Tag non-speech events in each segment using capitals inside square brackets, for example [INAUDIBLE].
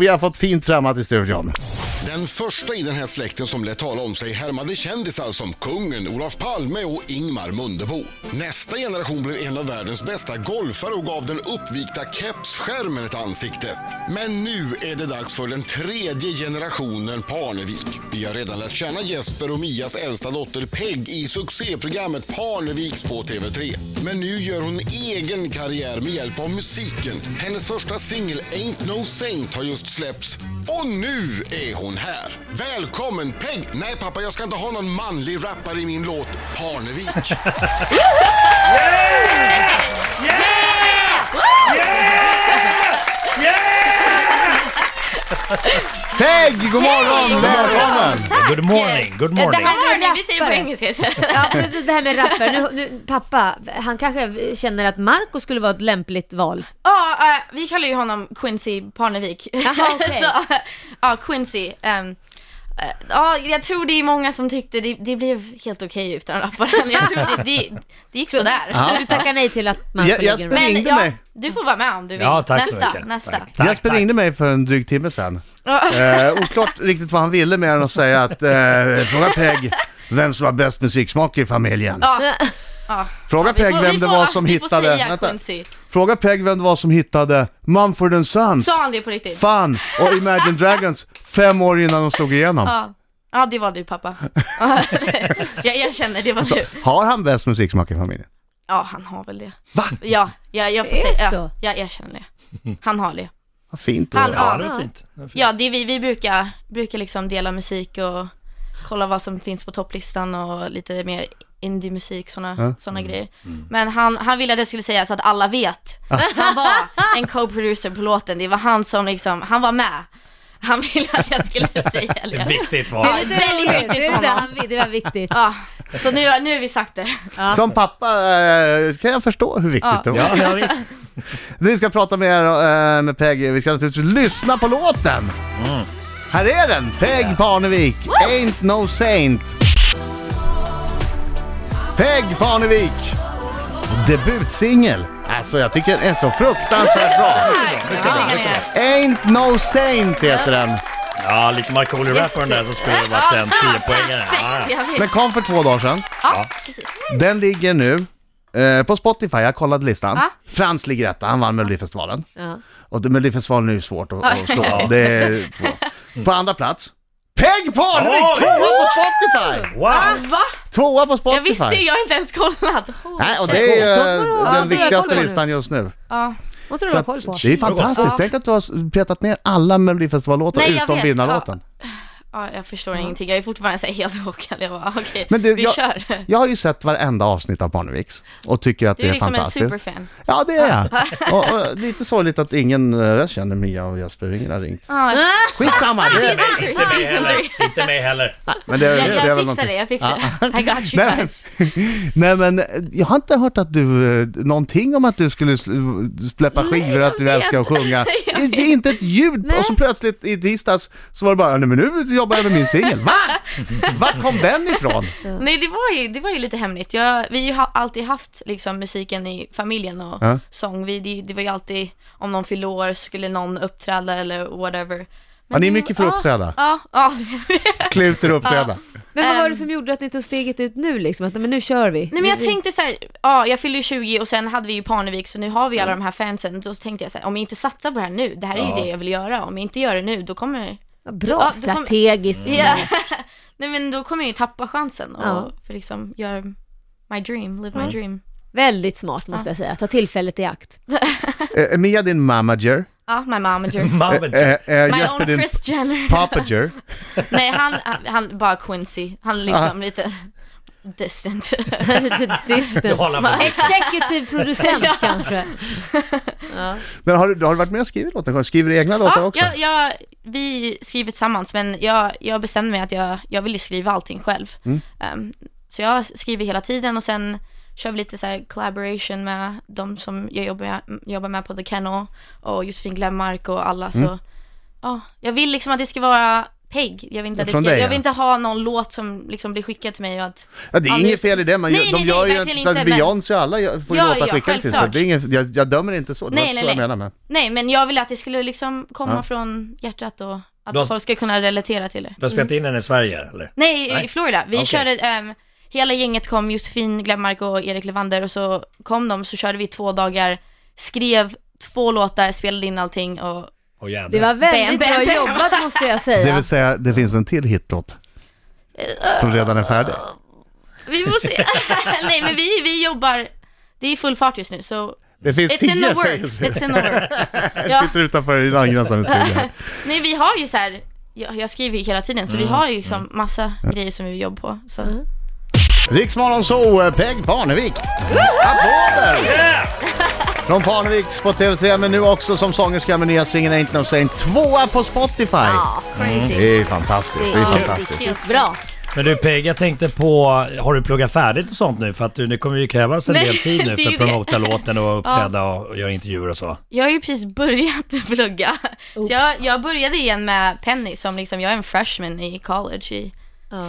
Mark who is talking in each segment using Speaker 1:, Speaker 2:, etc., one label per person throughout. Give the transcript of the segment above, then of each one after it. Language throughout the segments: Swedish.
Speaker 1: Vi har fått fint främmat i studion.
Speaker 2: Den första i den här släkten som lät tala om sig härmade kändisar som kungen, Olof Palme och Ingmar Mundebo. Nästa generation blev en av världens bästa golfare och gav den uppvikta kepsskärmen ett ansikte. Men nu är det dags för den tredje generationen Parnevik. Vi har redan lärt känna Jesper och Mias äldsta dotter Peg i succéprogrammet Parneviks på TV3. Men nu gör hon egen karriär med hjälp av musiken. Hennes första singel Ain't No Saint har just släppts och nu är hon här. Välkommen Peg! Nej pappa, jag ska inte ha någon manlig rappare i min låt Parnevik.
Speaker 1: Peg, god morgon! Välkommen!
Speaker 3: Good morning, good
Speaker 4: Det
Speaker 3: morning.
Speaker 4: här
Speaker 5: Hörni,
Speaker 4: med
Speaker 5: vi säger det på
Speaker 4: rappare.
Speaker 5: engelska istället.
Speaker 4: Ja, precis. Det här med rappare. Nu, nu, pappa, han kanske känner att Marco skulle vara ett lämpligt val.
Speaker 5: [LAUGHS] Ja, eh, vi kallar ju honom Quincy Parnevik.
Speaker 4: Jaha, okej.
Speaker 5: Så, eh, [LAUGHS] ja, Quincy. ehm, eh, Ja, jag tror det är många som tyckte det, det blev helt okej utan rapparen. Jag tror det, det, det [LAUGHS] gick sådär.
Speaker 1: Ja.
Speaker 4: Så du tackar nej till att Marco
Speaker 1: Jag- jag
Speaker 4: lägger
Speaker 1: spelar-
Speaker 4: mig?
Speaker 5: Men
Speaker 1: ringde
Speaker 5: ja,
Speaker 1: mig.
Speaker 5: du får vara med om du vill.
Speaker 3: Ja, tack så
Speaker 5: nästa,
Speaker 3: mycket.
Speaker 5: nästa.
Speaker 3: Tack.
Speaker 1: Jesper ringde mig för en dryg timme sedan.
Speaker 5: Ja.
Speaker 1: Eh, oklart riktigt vad han ville mer än att säga att eh, fråga Peg vem som har bäst musiksmak i familjen.
Speaker 5: Ja, ja.
Speaker 1: Fråga
Speaker 5: Vi
Speaker 1: Peg
Speaker 5: får-
Speaker 1: vem
Speaker 5: vi
Speaker 1: det
Speaker 5: får-
Speaker 1: var som
Speaker 5: Vi får
Speaker 1: hittade...
Speaker 5: säga
Speaker 1: vänta.
Speaker 5: Quincy.
Speaker 1: Fråga Peg vem det var som hittade Mumford and Sons,
Speaker 5: Sa han det på riktigt?
Speaker 1: Fun och Imagine Dragons fem år innan de slog igenom.
Speaker 5: Ja. ja, det var du pappa. [LAUGHS] jag erkänner, det var du.
Speaker 1: Har han bäst musiksmak i familjen?
Speaker 5: Ja, han har väl det.
Speaker 1: Va?
Speaker 5: Ja, jag, jag får
Speaker 4: Det är
Speaker 5: säga,
Speaker 4: så.
Speaker 5: ja, jag erkänner det. Han har det.
Speaker 1: Vad fint.
Speaker 5: Han,
Speaker 3: Ja,
Speaker 5: ja,
Speaker 3: det är fint. Det är fint.
Speaker 5: ja, det är vi, vi brukar, brukar liksom dela musik och kolla vad som finns på topplistan och lite mer indie-musik, sådana
Speaker 1: Ja. Mm.
Speaker 5: såna grejer. Men han, han ville att jag skulle säga så att alla vet. Han var en co-producer på låten, det var han som liksom, han var med. Han ville att jag skulle säga
Speaker 3: Det är
Speaker 5: det.
Speaker 3: viktigt val.
Speaker 4: Det är lite
Speaker 5: Väldigt
Speaker 4: roligt.
Speaker 5: viktigt
Speaker 4: Det, är
Speaker 5: för
Speaker 4: lite,
Speaker 5: honom.
Speaker 4: han vill- det var viktigt.
Speaker 5: Ja, så nu, nu har vi sagt det.
Speaker 1: Som pappa eh, kan jag förstå hur viktigt
Speaker 5: Ja.
Speaker 1: det var.
Speaker 3: Ja, ja, visst.
Speaker 1: Vi ska prata mer eh, med Peg. Vi ska naturligtvis lyssna på låten. Här är den! Peg Parnevik, Ain't No Saint. Peg Parnevik. Debutsingel. Alltså jag tycker den är så fruktansvärt bra. Ain't No Saint heter den.
Speaker 3: ja lite Markoolio-rapparen där som skulle ha varit en 10-poängare. Ja, ja.
Speaker 5: Jag vet.
Speaker 1: Men kom för två dagar sedan.
Speaker 5: Ja, precis.
Speaker 1: Den ligger nu eh, på Spotify. Jag kollade listan.
Speaker 5: Ja.
Speaker 1: Frans ligger etta. Han vann Melodifestivalen.
Speaker 4: Ja.
Speaker 1: Och det- Melodifestivalen är ju svårt att, att slå. Det är två.
Speaker 5: Mm.
Speaker 1: På andra plats, Peg Parnevik!
Speaker 3: Oj!
Speaker 1: Tvåa på Spotify!
Speaker 3: Wow!
Speaker 5: Va?
Speaker 1: Tvåa på
Speaker 5: Jag visste,
Speaker 1: Spotify!
Speaker 5: jag har inte ens kollat. Oh,
Speaker 1: Nej, och
Speaker 5: shit.
Speaker 1: det
Speaker 4: Så
Speaker 1: är
Speaker 4: bra.
Speaker 1: eh,
Speaker 4: Ja,
Speaker 1: den
Speaker 4: så jag
Speaker 1: viktigaste
Speaker 4: kollar nu.
Speaker 1: listan just nu.
Speaker 5: ja.
Speaker 4: Måste du
Speaker 1: Så
Speaker 4: ha
Speaker 1: att,
Speaker 4: koll på.
Speaker 1: det är fantastiskt.
Speaker 5: Ja.
Speaker 1: Tänk att du har petat ner alla Melodifestivallåtar
Speaker 5: Nej, jag
Speaker 1: utom
Speaker 5: vet.
Speaker 1: vinnarlåten.
Speaker 5: ja, jag förstår ingenting. Jag är fortfarande så här helt [LAUGHS] chockad. Jag bara, okej,
Speaker 1: Men du,
Speaker 5: vi
Speaker 1: jag-
Speaker 5: kör.
Speaker 1: Jag har ju sett varenda avsnitt av Parneviks och tycker att
Speaker 5: Du
Speaker 1: det
Speaker 5: är
Speaker 1: är,
Speaker 5: liksom en
Speaker 1: fantastiskt.
Speaker 5: superfan.
Speaker 1: Ja, det är jag. Och, [LAUGHS] och, lite sorgligt att ingen, eh, jag känner Mia och Jesper, ingen har ringt.
Speaker 5: Ja,
Speaker 1: Skitsamma! Ah.
Speaker 5: Ah,
Speaker 1: Det är,
Speaker 3: Nej, Inte mig heller. Inte mig heller.
Speaker 1: men det, är-
Speaker 5: jag,
Speaker 1: det är
Speaker 5: jag
Speaker 1: väl någonting.
Speaker 5: fixar det, jag fixar [LAUGHS] det. I got
Speaker 1: [LAUGHS]
Speaker 5: you
Speaker 1: Nej,
Speaker 5: guys.
Speaker 1: [LAUGHS] Nej men eh, jag har inte hört att du, eh, någonting om att du skulle sl- släppa skivor, att du älskar att
Speaker 5: [LAUGHS]
Speaker 1: sjunga. Det det är inte ett ljud.
Speaker 4: Nej.
Speaker 1: Och så plötsligt i tisdags så var det bara, nej men nu jobbar jag med min singel.
Speaker 5: [LAUGHS]
Speaker 1: Va? Vart kom den ifrån?
Speaker 5: Nej, det var ju, det var ju lite hemligt. Jag, vi har ju ha- alltid haft liksom, musiken i familjen och
Speaker 1: Ja.
Speaker 5: sång. Vi, det, det var ju alltid, om någon fyllde år skulle någon uppträda eller whatever. Men
Speaker 1: Ja, ni är
Speaker 5: det-
Speaker 1: mycket för att
Speaker 5: ja,
Speaker 1: uppträda.
Speaker 5: Ja, ja. [LAUGHS]
Speaker 1: Kluter och uppträda.
Speaker 4: Men vad var det
Speaker 5: Ehm.
Speaker 4: som gjorde att ni tog steget ut nu liksom? Att nej, men nu kör vi.
Speaker 5: Nej men jag tänkte så här, ja jag fyllde ju 20 och sen hade vi ju Parnevik så nu har vi alla de här fansen. Då tänkte jag så här, om jag inte satsar på det här nu, det här är ju
Speaker 3: Ja.
Speaker 5: det jag vill göra. Om jag inte gör det nu, då kommer...
Speaker 4: Ja, Bra,
Speaker 5: Ja, du kom-
Speaker 4: strategiskt.
Speaker 5: Ja. [LAUGHS] Nej men då kommer jag ju tappa chansen och
Speaker 4: Ja.
Speaker 5: för liksom göra my dream, live my dream.
Speaker 4: Väldigt smart måste jag säga. Ta tillfället i akt. [LAUGHS]
Speaker 1: Eh, Mia din manager,
Speaker 5: Ja, my
Speaker 4: [LAUGHS]
Speaker 5: momager.
Speaker 1: eh,
Speaker 3: Mamma,
Speaker 1: eh,
Speaker 5: My
Speaker 1: Jesper
Speaker 5: own
Speaker 1: din
Speaker 5: Chris Jenner.
Speaker 1: papager.
Speaker 5: Nej han, han, bara Quincy. Han är liksom lite distant.
Speaker 4: Lite
Speaker 3: du
Speaker 4: distant.
Speaker 3: håller på.
Speaker 4: Exekutiv
Speaker 5: [LAUGHS]
Speaker 4: producent
Speaker 5: Ja.
Speaker 4: kanske.
Speaker 1: Men har du, har du varit med och skrivit låtar? Skriver du egna låtar
Speaker 5: ja,
Speaker 1: också?
Speaker 5: Jag, jag, vi skriver tillsammans men jag, jag bestämde mig att jag, jag ville skriva allting själv.
Speaker 1: Mm.
Speaker 5: Ehm, så jag skriver hela tiden och sen kör vi lite så här collaboration med de som jag jobbar med, jobbar med
Speaker 1: Mm.
Speaker 5: på The Kennel och Josefin Glenmark och alla. Så, ja, jag vill liksom att det ska vara peg. Jag vill inte, att det ska,
Speaker 1: Från dig,
Speaker 5: jag
Speaker 1: ja.
Speaker 5: vill inte ha någon låt som liksom blir skickad till mig och att
Speaker 1: Ja, det är
Speaker 5: Ja,
Speaker 1: inget
Speaker 5: just-
Speaker 1: fel i det, man,
Speaker 5: Nej,
Speaker 1: gör- de
Speaker 5: nej, nej,
Speaker 1: gör ju
Speaker 5: verkligen
Speaker 1: inte, så att
Speaker 5: inte, men-
Speaker 1: Beyoncé och alla gör- får ju
Speaker 5: Ja,
Speaker 1: låta
Speaker 5: ja,
Speaker 1: skickade till så
Speaker 5: självklart.
Speaker 1: det är inget, jag, jag dömer inte så, det var
Speaker 5: Nej,
Speaker 1: inte
Speaker 5: nej,
Speaker 1: så jag menar
Speaker 5: nej.
Speaker 1: men.
Speaker 5: Nej, men jag vill att det skulle liksom komma
Speaker 1: Ja.
Speaker 5: från hjärtat och att
Speaker 3: Du har-
Speaker 5: folk ska kunna relatera till det.
Speaker 3: Du har spelat in den i Sverige eller?
Speaker 5: Nej,
Speaker 3: Nej.
Speaker 5: i Florida. Vi
Speaker 3: Okej.
Speaker 5: körde, ehm, hela gänget kom, Josefin Glenmark och Erik Levander och så kom de, så körde vi två dagar, skrev två låtar, spelade in allting och
Speaker 3: Åh jävlar.
Speaker 4: Det var väldigt
Speaker 5: Bam, bam,
Speaker 4: bra
Speaker 5: bam.
Speaker 4: jobbat måste jag säga.
Speaker 1: Det vill säga, det finns en till hitlåt som redan är färdig.
Speaker 5: vi får se. [LAUGHS] Nej, men vi, vi jobbar, det är full fart just nu, så
Speaker 1: Det finns
Speaker 5: it's in the
Speaker 1: tio säger
Speaker 5: works,
Speaker 1: sig.
Speaker 5: it's in the works.
Speaker 1: Jag
Speaker 5: Ja.
Speaker 1: sitter utanför i den angränsande studion.
Speaker 5: [LAUGHS]
Speaker 1: här.
Speaker 5: Nej, vi har ju så här, jag, jag skriver ju hela tiden, så vi
Speaker 1: Mm,
Speaker 5: har ju liksom massa grejer som vi jobbar på. Så.
Speaker 1: Riksmorgon så Peg Parnevik.
Speaker 5: [LAUGHS]
Speaker 1: Applåder! Från Parneviks på TV3 men nu också som sångerska med nya singeln Ain't No Saint. Tvåa på Spotify.
Speaker 4: Ja, crazy.
Speaker 1: Det är fantastiskt, det är
Speaker 4: Ja,
Speaker 1: fantastiskt.
Speaker 4: riktigt bra.
Speaker 3: Men du Peg, jag tänkte på, har du pluggat färdigt och sånt nu? För att du, det kommer ju krävas en
Speaker 5: Nej,
Speaker 3: del tid nu
Speaker 5: det
Speaker 3: för
Speaker 5: är ju
Speaker 3: att
Speaker 5: det.
Speaker 3: promota låten och uppträda och, och göra intervjuer och så.
Speaker 5: Jag har ju precis börjat [LAUGHS] plugga. Så jag, jag började igen med Penny som liksom, jag är en freshman i college i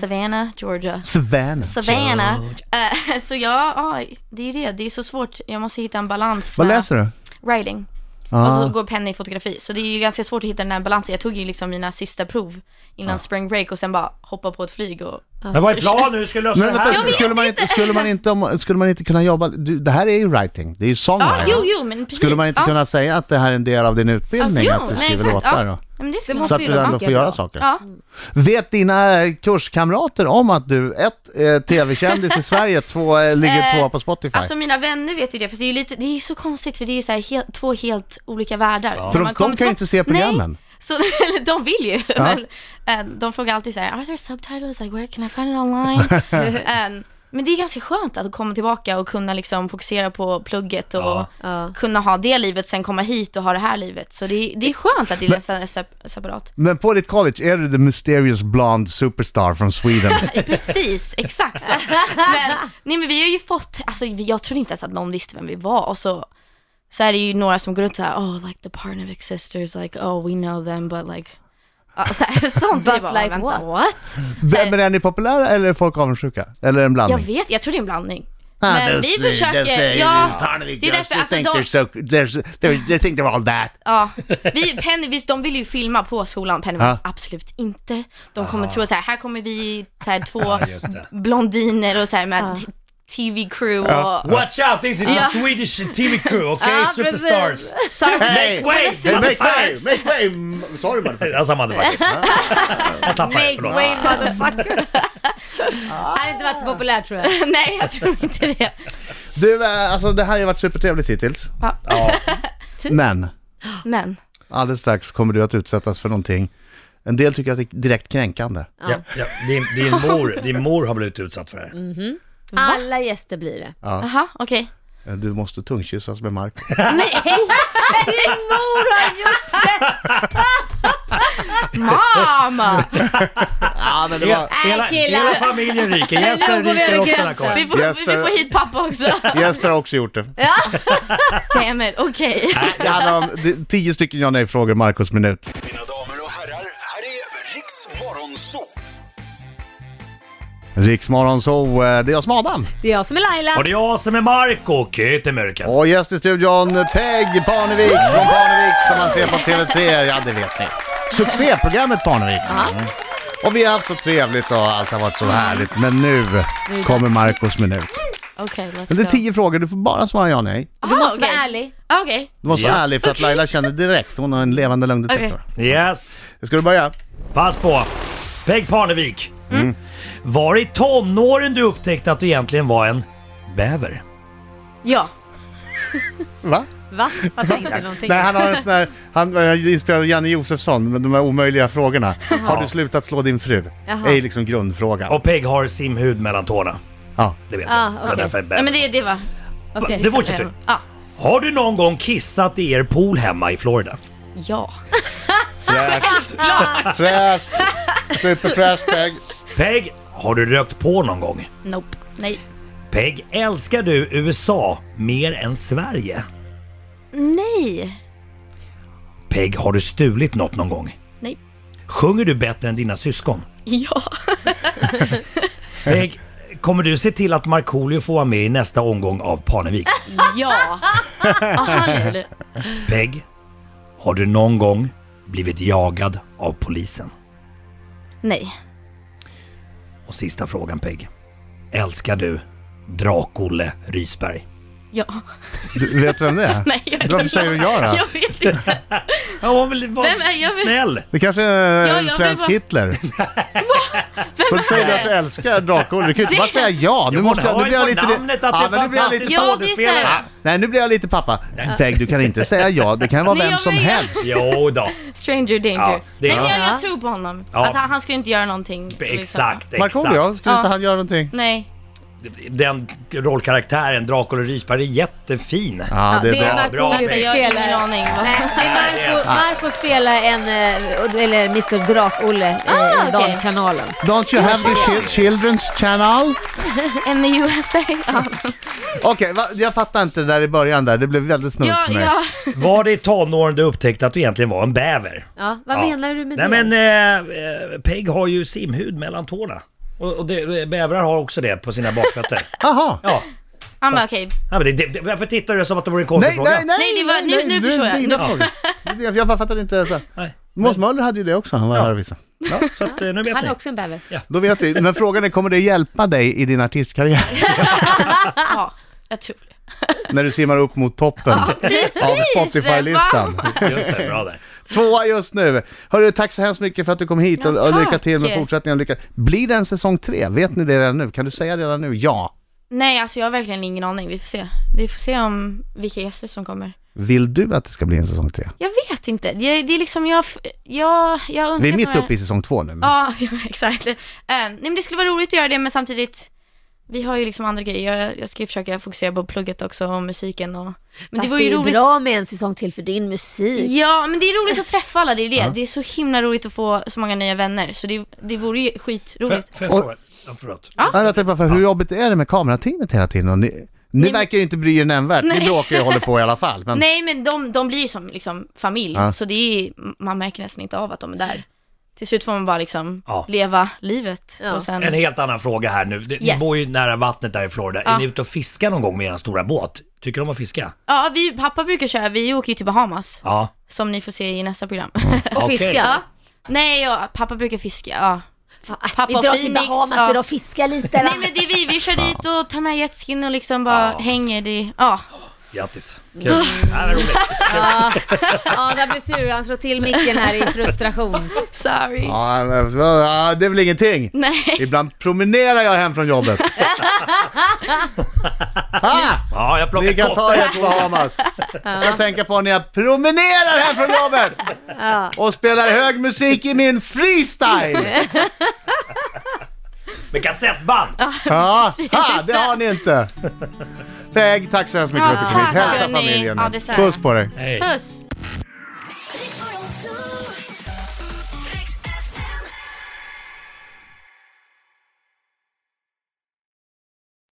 Speaker 5: Savannah, Georgia.
Speaker 1: Sven.
Speaker 5: Savannah. Eh, så jag, ja, det är ju det. Det är så svårt. Jag måste hitta en balans
Speaker 1: Vad
Speaker 5: med
Speaker 1: läser du?
Speaker 5: writing. Och
Speaker 1: Ah.
Speaker 5: så går Penny i fotografi. Så det är ju ganska svårt att hitta den här balansen. Jag tog ju liksom mina sista prov
Speaker 1: Ah.
Speaker 5: innan spring break och sen bara hoppa på ett flyg och
Speaker 4: Ah.
Speaker 3: Men vad är planen? Hur ska du lösa
Speaker 1: Men
Speaker 3: det här?
Speaker 1: vänta, skulle man, inte, skulle, man inte, om- skulle man inte kunna jobba... Du, det här är ju writing, det är ju
Speaker 5: Ja,
Speaker 1: songwriting.
Speaker 5: jo, jo, men precis.
Speaker 1: skulle man inte
Speaker 5: ja.
Speaker 1: kunna säga att det här är en del av din utbildning,
Speaker 5: Jo,
Speaker 1: att du
Speaker 5: nej,
Speaker 1: skriver
Speaker 5: exakt.
Speaker 1: låtar?
Speaker 5: Ja.
Speaker 1: då?
Speaker 5: Ja, men det skulle
Speaker 4: Det
Speaker 5: man.
Speaker 1: Så att du
Speaker 4: ju
Speaker 1: ändå
Speaker 4: vara
Speaker 1: får göra
Speaker 4: bra.
Speaker 1: saker.
Speaker 5: Ja.
Speaker 1: Vet dina eh, kurskamrater om att du, ett, eh, tv-kändis i Sverige, två, eh, ligger
Speaker 5: Eh,
Speaker 1: tvåa på Spotify?
Speaker 5: Alltså mina vänner vet ju det, för det är ju lite, det är ju så konstigt för det är ju så här helt, två helt olika världar.
Speaker 1: För de,
Speaker 5: Man
Speaker 1: de
Speaker 5: kommer
Speaker 1: kan ju
Speaker 5: till-
Speaker 1: inte se programmen.
Speaker 5: Nej, så, [LAUGHS] eller de vill ju, men eh, de frågar alltid så här, are there subtitles, like where can I find it online? Eh, men det är ganska skönt att komma tillbaka och kunna liksom fokusera på plugget och
Speaker 3: Ja.
Speaker 4: Ja.
Speaker 5: kunna ha det livet, sen komma hit och ha det här livet. Så det är, det är skönt att det är nästan sep- separat.
Speaker 1: Men på ditt college är du the mysterious blonde superstar from
Speaker 5: [LAUGHS]
Speaker 1: Sweden.
Speaker 5: Precis, [LAUGHS] exakt så. Men, nej men vi har ju fått, alltså vi- jag trodde inte ens att någon visste vem vi var och så så är det ju några som går runt såhär, oh like the Parnevik sisters, like oh we know them but like ja, så här, [LAUGHS] sånt.
Speaker 4: But
Speaker 5: Vi bara,
Speaker 4: like
Speaker 5: "Vänta,
Speaker 4: what?"
Speaker 5: what?
Speaker 1: Vem- Men är ni populära eller är folk avundsjuka? Eller en
Speaker 5: Jag
Speaker 1: blandning?
Speaker 5: vet, jag tror det är en blandning.
Speaker 1: Ah,
Speaker 5: Men
Speaker 1: those-
Speaker 5: vi
Speaker 1: those
Speaker 5: försöker,
Speaker 1: say-
Speaker 5: ja,
Speaker 1: Parnevik
Speaker 5: det är
Speaker 1: girls,
Speaker 5: därför, alltså, de-
Speaker 1: so, they're, they're, they think they're all that.
Speaker 5: ja. Vi, Penny, visst, de vill ju filma på skolan, Penny
Speaker 1: Ja.
Speaker 5: bara, absolut inte. De kommer tro så här, här kommer vi så här, två
Speaker 3: Ja, just det.
Speaker 5: blondiner och så här med t- TV-crew och
Speaker 3: Watch out, this is
Speaker 5: Ja.
Speaker 3: the Swedish TV crew, okay?
Speaker 4: Ja, precis.
Speaker 3: Superstars!
Speaker 5: Sorry.
Speaker 1: Hey,
Speaker 3: Wait,
Speaker 1: hey, make way,
Speaker 3: motherfuckers!
Speaker 1: make way! mm, Sorry motherfucker.
Speaker 3: Jag sa
Speaker 4: [LAUGHS]
Speaker 3: motherfuckers. Jag tappade det,
Speaker 4: Make
Speaker 3: förlåt.
Speaker 4: way motherfuckers.
Speaker 5: [LAUGHS]
Speaker 4: Hade inte varit så populärt tror jag.
Speaker 5: [LAUGHS] Nej, jag tror inte det.
Speaker 1: Du, eh, alltså det här har ju varit supertrevligt hittills.
Speaker 5: Ja. Typ.
Speaker 1: Men,
Speaker 5: Men,
Speaker 1: alldeles strax kommer du att utsättas för någonting. En del tycker att det är direkt kränkande.
Speaker 3: Ja, ja, din, din, mor, din mor har blivit utsatt för det här.
Speaker 5: Ah.
Speaker 4: Alla gäster blir det.
Speaker 3: Ah.
Speaker 5: aha, okej.
Speaker 1: Eh, Du måste tungkyssas med Mark.
Speaker 4: [LAUGHS] Din mor har gjort det!
Speaker 5: Mamma!
Speaker 1: Ja, men det
Speaker 3: Hela, hela,
Speaker 4: killar.
Speaker 3: hela familjen
Speaker 4: [LAUGHS]
Speaker 3: ryker. Jesper
Speaker 4: Nu går vi
Speaker 3: ryker
Speaker 4: över
Speaker 3: också.
Speaker 4: gränsen.
Speaker 3: Nakon.
Speaker 5: Vi får, vi
Speaker 1: Jesper.
Speaker 5: får hit pappa också.
Speaker 1: Jesper har också gjort det.
Speaker 5: Damn it, okej.
Speaker 1: Det handlar om det- tio stycken ja nej-frågor, Marcos minut.
Speaker 6: Mina damer och herrar, här är Riks Morgonzoo!
Speaker 1: Riksmorgon så, eh, det är jag som Adam.
Speaker 4: Det är jag som är
Speaker 3: Och
Speaker 4: Laila.
Speaker 3: det är jag som är Marco Kytemyrken.
Speaker 1: Och gäst i studion, Peg Parnevik från Parnevik som man ser på TV3. Ja, det vet ni. Succéprogrammet Parnevik. Mm. Och vi har haft så trevligt och allt har varit så härligt. Men nu kommer Marcos minut.
Speaker 5: Okej,
Speaker 1: Men det är
Speaker 5: let's go.
Speaker 1: tio frågor, du får bara svara ja nej.
Speaker 4: Du måste
Speaker 5: okej.
Speaker 4: vara ärlig.
Speaker 5: Ah, Okej.
Speaker 1: Du måste vara
Speaker 3: Yes.
Speaker 1: ärlig för att Laila känner direkt, hon har en levande lögndetektor.
Speaker 3: Yes.
Speaker 1: Ska du börja?
Speaker 3: Pass på! Peg Parnevik.
Speaker 4: Mm.
Speaker 3: Mm. Var i tonåren du upptäckte att du egentligen var en bäver?
Speaker 5: Ja.
Speaker 1: Va?
Speaker 4: Va? Fattar inte någonting.
Speaker 1: Nej, han har en sån här, han är inspirerad av Janne Josefsson med de här omöjliga frågorna. Har du slutat slå din fru?
Speaker 4: Jaha.
Speaker 1: Det är liksom grundfrågan.
Speaker 3: Och Peg har simhud mellan tårna.
Speaker 1: Ja.
Speaker 3: Det vet
Speaker 4: Ah,
Speaker 3: jag. Det
Speaker 4: okej.
Speaker 3: var därför jag är
Speaker 5: Nej
Speaker 3: bäver.
Speaker 5: men det, det var... ah,
Speaker 4: Okej.
Speaker 3: Det fortsätter.
Speaker 5: Ja.
Speaker 3: Har du någon gång kissat i er pool hemma i Florida?
Speaker 5: Ja.
Speaker 1: Fräscht. Fräscht. Superfräscht Peg.
Speaker 3: Peg, har du rökt på någon gång?
Speaker 5: Nope. Nej.
Speaker 3: Peg, älskar du USA mer än Sverige?
Speaker 5: Nej.
Speaker 3: Peg, har du stulit något någon gång?
Speaker 5: Nej.
Speaker 3: Sjunger du bättre än dina syskon?
Speaker 5: Ja. [LAUGHS]
Speaker 3: Peg, kommer du se till att Markoolio får vara med i nästa omgång av
Speaker 5: [LAUGHS]
Speaker 3: Parnevik?
Speaker 1: [LAUGHS]
Speaker 5: Ja. Aha, nu.
Speaker 3: Peg, har du någon gång blivit jagad av polisen?
Speaker 5: Nej.
Speaker 3: Och sista frågan Peg. Älskar du Drak-Olle Rysberg?
Speaker 5: Ja.
Speaker 1: Du, vet du vem det är?
Speaker 5: Nej, jag,
Speaker 1: Varför säger du ja då?
Speaker 5: Jag vet inte.
Speaker 3: Ja, hon vill vara
Speaker 5: Vem är- jag vill-
Speaker 3: snäll.
Speaker 1: Det kanske är
Speaker 5: Ja,
Speaker 1: en
Speaker 5: jag
Speaker 1: svensk
Speaker 5: vill bara- [LAUGHS]
Speaker 1: Hitler. Så säger du att du älskar Drakon. Du kan ju inte bara säga ja. Nu
Speaker 3: hon
Speaker 1: måste jag...
Speaker 3: har
Speaker 1: Nu
Speaker 3: ju
Speaker 1: blir jag
Speaker 3: på
Speaker 1: lite...
Speaker 3: namnet att
Speaker 1: ja,
Speaker 3: det är
Speaker 1: men nu blir jag
Speaker 3: fantastisk
Speaker 1: lite...
Speaker 5: Ja, det är
Speaker 3: skådespelare.
Speaker 5: så här.
Speaker 1: Nej, nu blir jag lite pappa. Peg, du kan inte säga ja. Det kan vara
Speaker 5: Nej,
Speaker 1: vem
Speaker 5: jag
Speaker 1: som
Speaker 5: vet.
Speaker 1: helst.
Speaker 3: Jo då,
Speaker 5: Stranger danger.
Speaker 3: Ja, det är-
Speaker 5: Nej, men jag,
Speaker 4: Ja.
Speaker 5: jag tror på honom.
Speaker 3: Ja.
Speaker 5: Att han, han skulle inte göra någonting. liksom.
Speaker 3: exakt, exakt.
Speaker 1: Markoolio, skulle inte
Speaker 5: Ja.
Speaker 1: han göra någonting?
Speaker 5: Nej.
Speaker 3: Den rollkaraktären, Drak-Olle Rysberg, är jättefin.
Speaker 1: Ja, det är
Speaker 3: bra,
Speaker 1: bra.
Speaker 3: bra,
Speaker 4: Markoolio
Speaker 5: Vänta, Alltså, jag har ingen
Speaker 1: [LAUGHS]
Speaker 4: spelar...
Speaker 5: aning. vad-
Speaker 4: Nej, det är Marco, Marco spelar en, eh, eller Mr Drak-Olle eh, i
Speaker 5: Ah, okej.
Speaker 4: Dankanalen.
Speaker 1: Don't you have the chil- children's channel?
Speaker 5: En i
Speaker 1: [LAUGHS]
Speaker 5: USA. Ja.
Speaker 1: Okej, va- jag fattar inte det där i början där. Det blev väldigt snurrigt
Speaker 5: Ja,
Speaker 1: för mig.
Speaker 5: ja.
Speaker 3: Var det i tonåren du upptäckte att du egentligen var en bäver?
Speaker 4: Ja, vad
Speaker 3: Ja.
Speaker 4: menar du med
Speaker 3: Nej,
Speaker 4: det?
Speaker 3: men eh, eh, Peg har ju simhud mellan tårna. Och, och det, eh, bävrar har också det på sina
Speaker 4: [LAUGHS]
Speaker 3: bakfötter.
Speaker 1: Jaha.
Speaker 3: ja.
Speaker 5: Han bara okej.
Speaker 3: ja men det, det, det, varför tittar du som att det vore en
Speaker 1: Nej,
Speaker 3: konstig fråga?
Speaker 1: nej, nej!
Speaker 5: Nej, det var- nu- nu
Speaker 1: det är
Speaker 5: förstår jag.
Speaker 1: dina
Speaker 5: Nu- [LAUGHS]
Speaker 1: frågor. Det är- Jag fattar inte. Så. här.
Speaker 3: nej.
Speaker 1: Måns Möller hade ju det också. Han var
Speaker 3: Ja.
Speaker 1: här och visade.
Speaker 3: Så att, eh, nu vet
Speaker 4: Han
Speaker 3: ni.
Speaker 4: är också en bäver.
Speaker 1: Då vet vi. Men frågan är, kommer det hjälpa dig i din artistkarriär? [LAUGHS]
Speaker 5: Ja, jag tror det.
Speaker 1: När du simmar upp mot toppen [LAUGHS] av Spotify-listan.
Speaker 3: Just det, bra där.
Speaker 1: Tvåa just nu. Hörru, tack så hemskt mycket för att du kom hit och,
Speaker 5: Ja,
Speaker 1: och
Speaker 5: tack.
Speaker 1: lycka till med fortsättningen. Lycka. Blir det en säsong tre? Vet ni det redan nu? Kan du säga redan nu? Ja.
Speaker 5: Nej, alltså jag har verkligen ingen aning. Vi får se. Vi får se om vilka gäster som kommer.
Speaker 1: Vill du att det ska bli en säsong tre?
Speaker 5: Jag vet inte. Det är, det är liksom jag... jag, jag önskar
Speaker 1: Vi är
Speaker 5: att
Speaker 1: mitt
Speaker 5: de här-
Speaker 1: uppe i säsong två nu. men-
Speaker 5: Ja, [LAUGHS] ja exakt. Eh, nej, men det skulle vara roligt att göra det, men samtidigt, vi har ju liksom andra grejer. Jag, jag ska ju försöka fokusera på plugget också och musiken och... Men
Speaker 4: Fast det, är ju bra med en säsong till för din musik.
Speaker 5: Ja, men det är roligt att träffa alla, det är det. Det är så himla roligt att få så många nya vänner, så det, det vore ju
Speaker 3: Får,
Speaker 5: skitroligt.
Speaker 3: får jag fråga? Ja, förlåt.
Speaker 1: Ja, jag tänkte bara, för hur jobbigt är det med kamerateamet hela tiden? Och ni, ni
Speaker 5: men-
Speaker 1: verkar ju inte bry er nämnvärt, ni
Speaker 5: Nej.
Speaker 1: bråkar ju och håller på i alla fall. Men
Speaker 5: Nej, men de, de blir ju som liksom familj,
Speaker 1: Ja.
Speaker 5: så det är, man märker nästan inte av att de är där. Till slut får man bara liksom
Speaker 3: Ja.
Speaker 5: leva livet
Speaker 4: Ja.
Speaker 5: och sen...
Speaker 3: En helt annan fråga här nu. Ni
Speaker 5: Yes.
Speaker 3: bor ju nära vattnet där i Florida. Är
Speaker 5: Ja.
Speaker 3: ni ute och fiskar någon gång med er stora båt? Tycker de om att fiska?
Speaker 5: Ja, vi, pappa brukar köra, vi åker ju till Bahamas,
Speaker 3: Ja.
Speaker 5: som ni får se i nästa program. [LAUGHS]
Speaker 4: Och
Speaker 3: Okej.
Speaker 4: fiska.
Speaker 5: Ja. Nej, ja, pappa brukar fiska. Ja.
Speaker 4: Fan,
Speaker 5: Pappa
Speaker 4: vi drar till
Speaker 5: Phoenix,
Speaker 4: Bahamas
Speaker 5: ja.
Speaker 4: idag och fiskar lite. va?
Speaker 5: Nej men det är vi, vi kör dit och tar med jetskin och liksom bara
Speaker 3: Ja.
Speaker 5: hänger. Det, ja.
Speaker 3: Grattis. Kul.
Speaker 4: Ah.
Speaker 3: Ja, vad roligt.
Speaker 4: Ja, ja där blir sur. Han slår till micken här i frustration.
Speaker 5: Sorry.
Speaker 1: Ja, men- ja, det är väl ingenting.
Speaker 5: Nej.
Speaker 1: Ibland promenerar jag hem från jobbet.
Speaker 5: [LAUGHS]
Speaker 1: ah,
Speaker 3: Ja, jag
Speaker 1: ni
Speaker 3: plockar
Speaker 1: kan ta
Speaker 3: kottar.
Speaker 1: er till Bahamas. Ska tänka på när jag promenerar hem från jobbet och spelar hög musik i min freestyle.
Speaker 3: Med kassettband!
Speaker 1: Ja, ha, det har ni inte. Peg, tack så hemskt mycket för att du kom hit.
Speaker 5: Ja,
Speaker 1: Hälsa
Speaker 5: tack, hörni.
Speaker 1: familjen.
Speaker 5: Ja, detsamma.
Speaker 1: Puss på dig.
Speaker 3: Hej.
Speaker 5: Puss.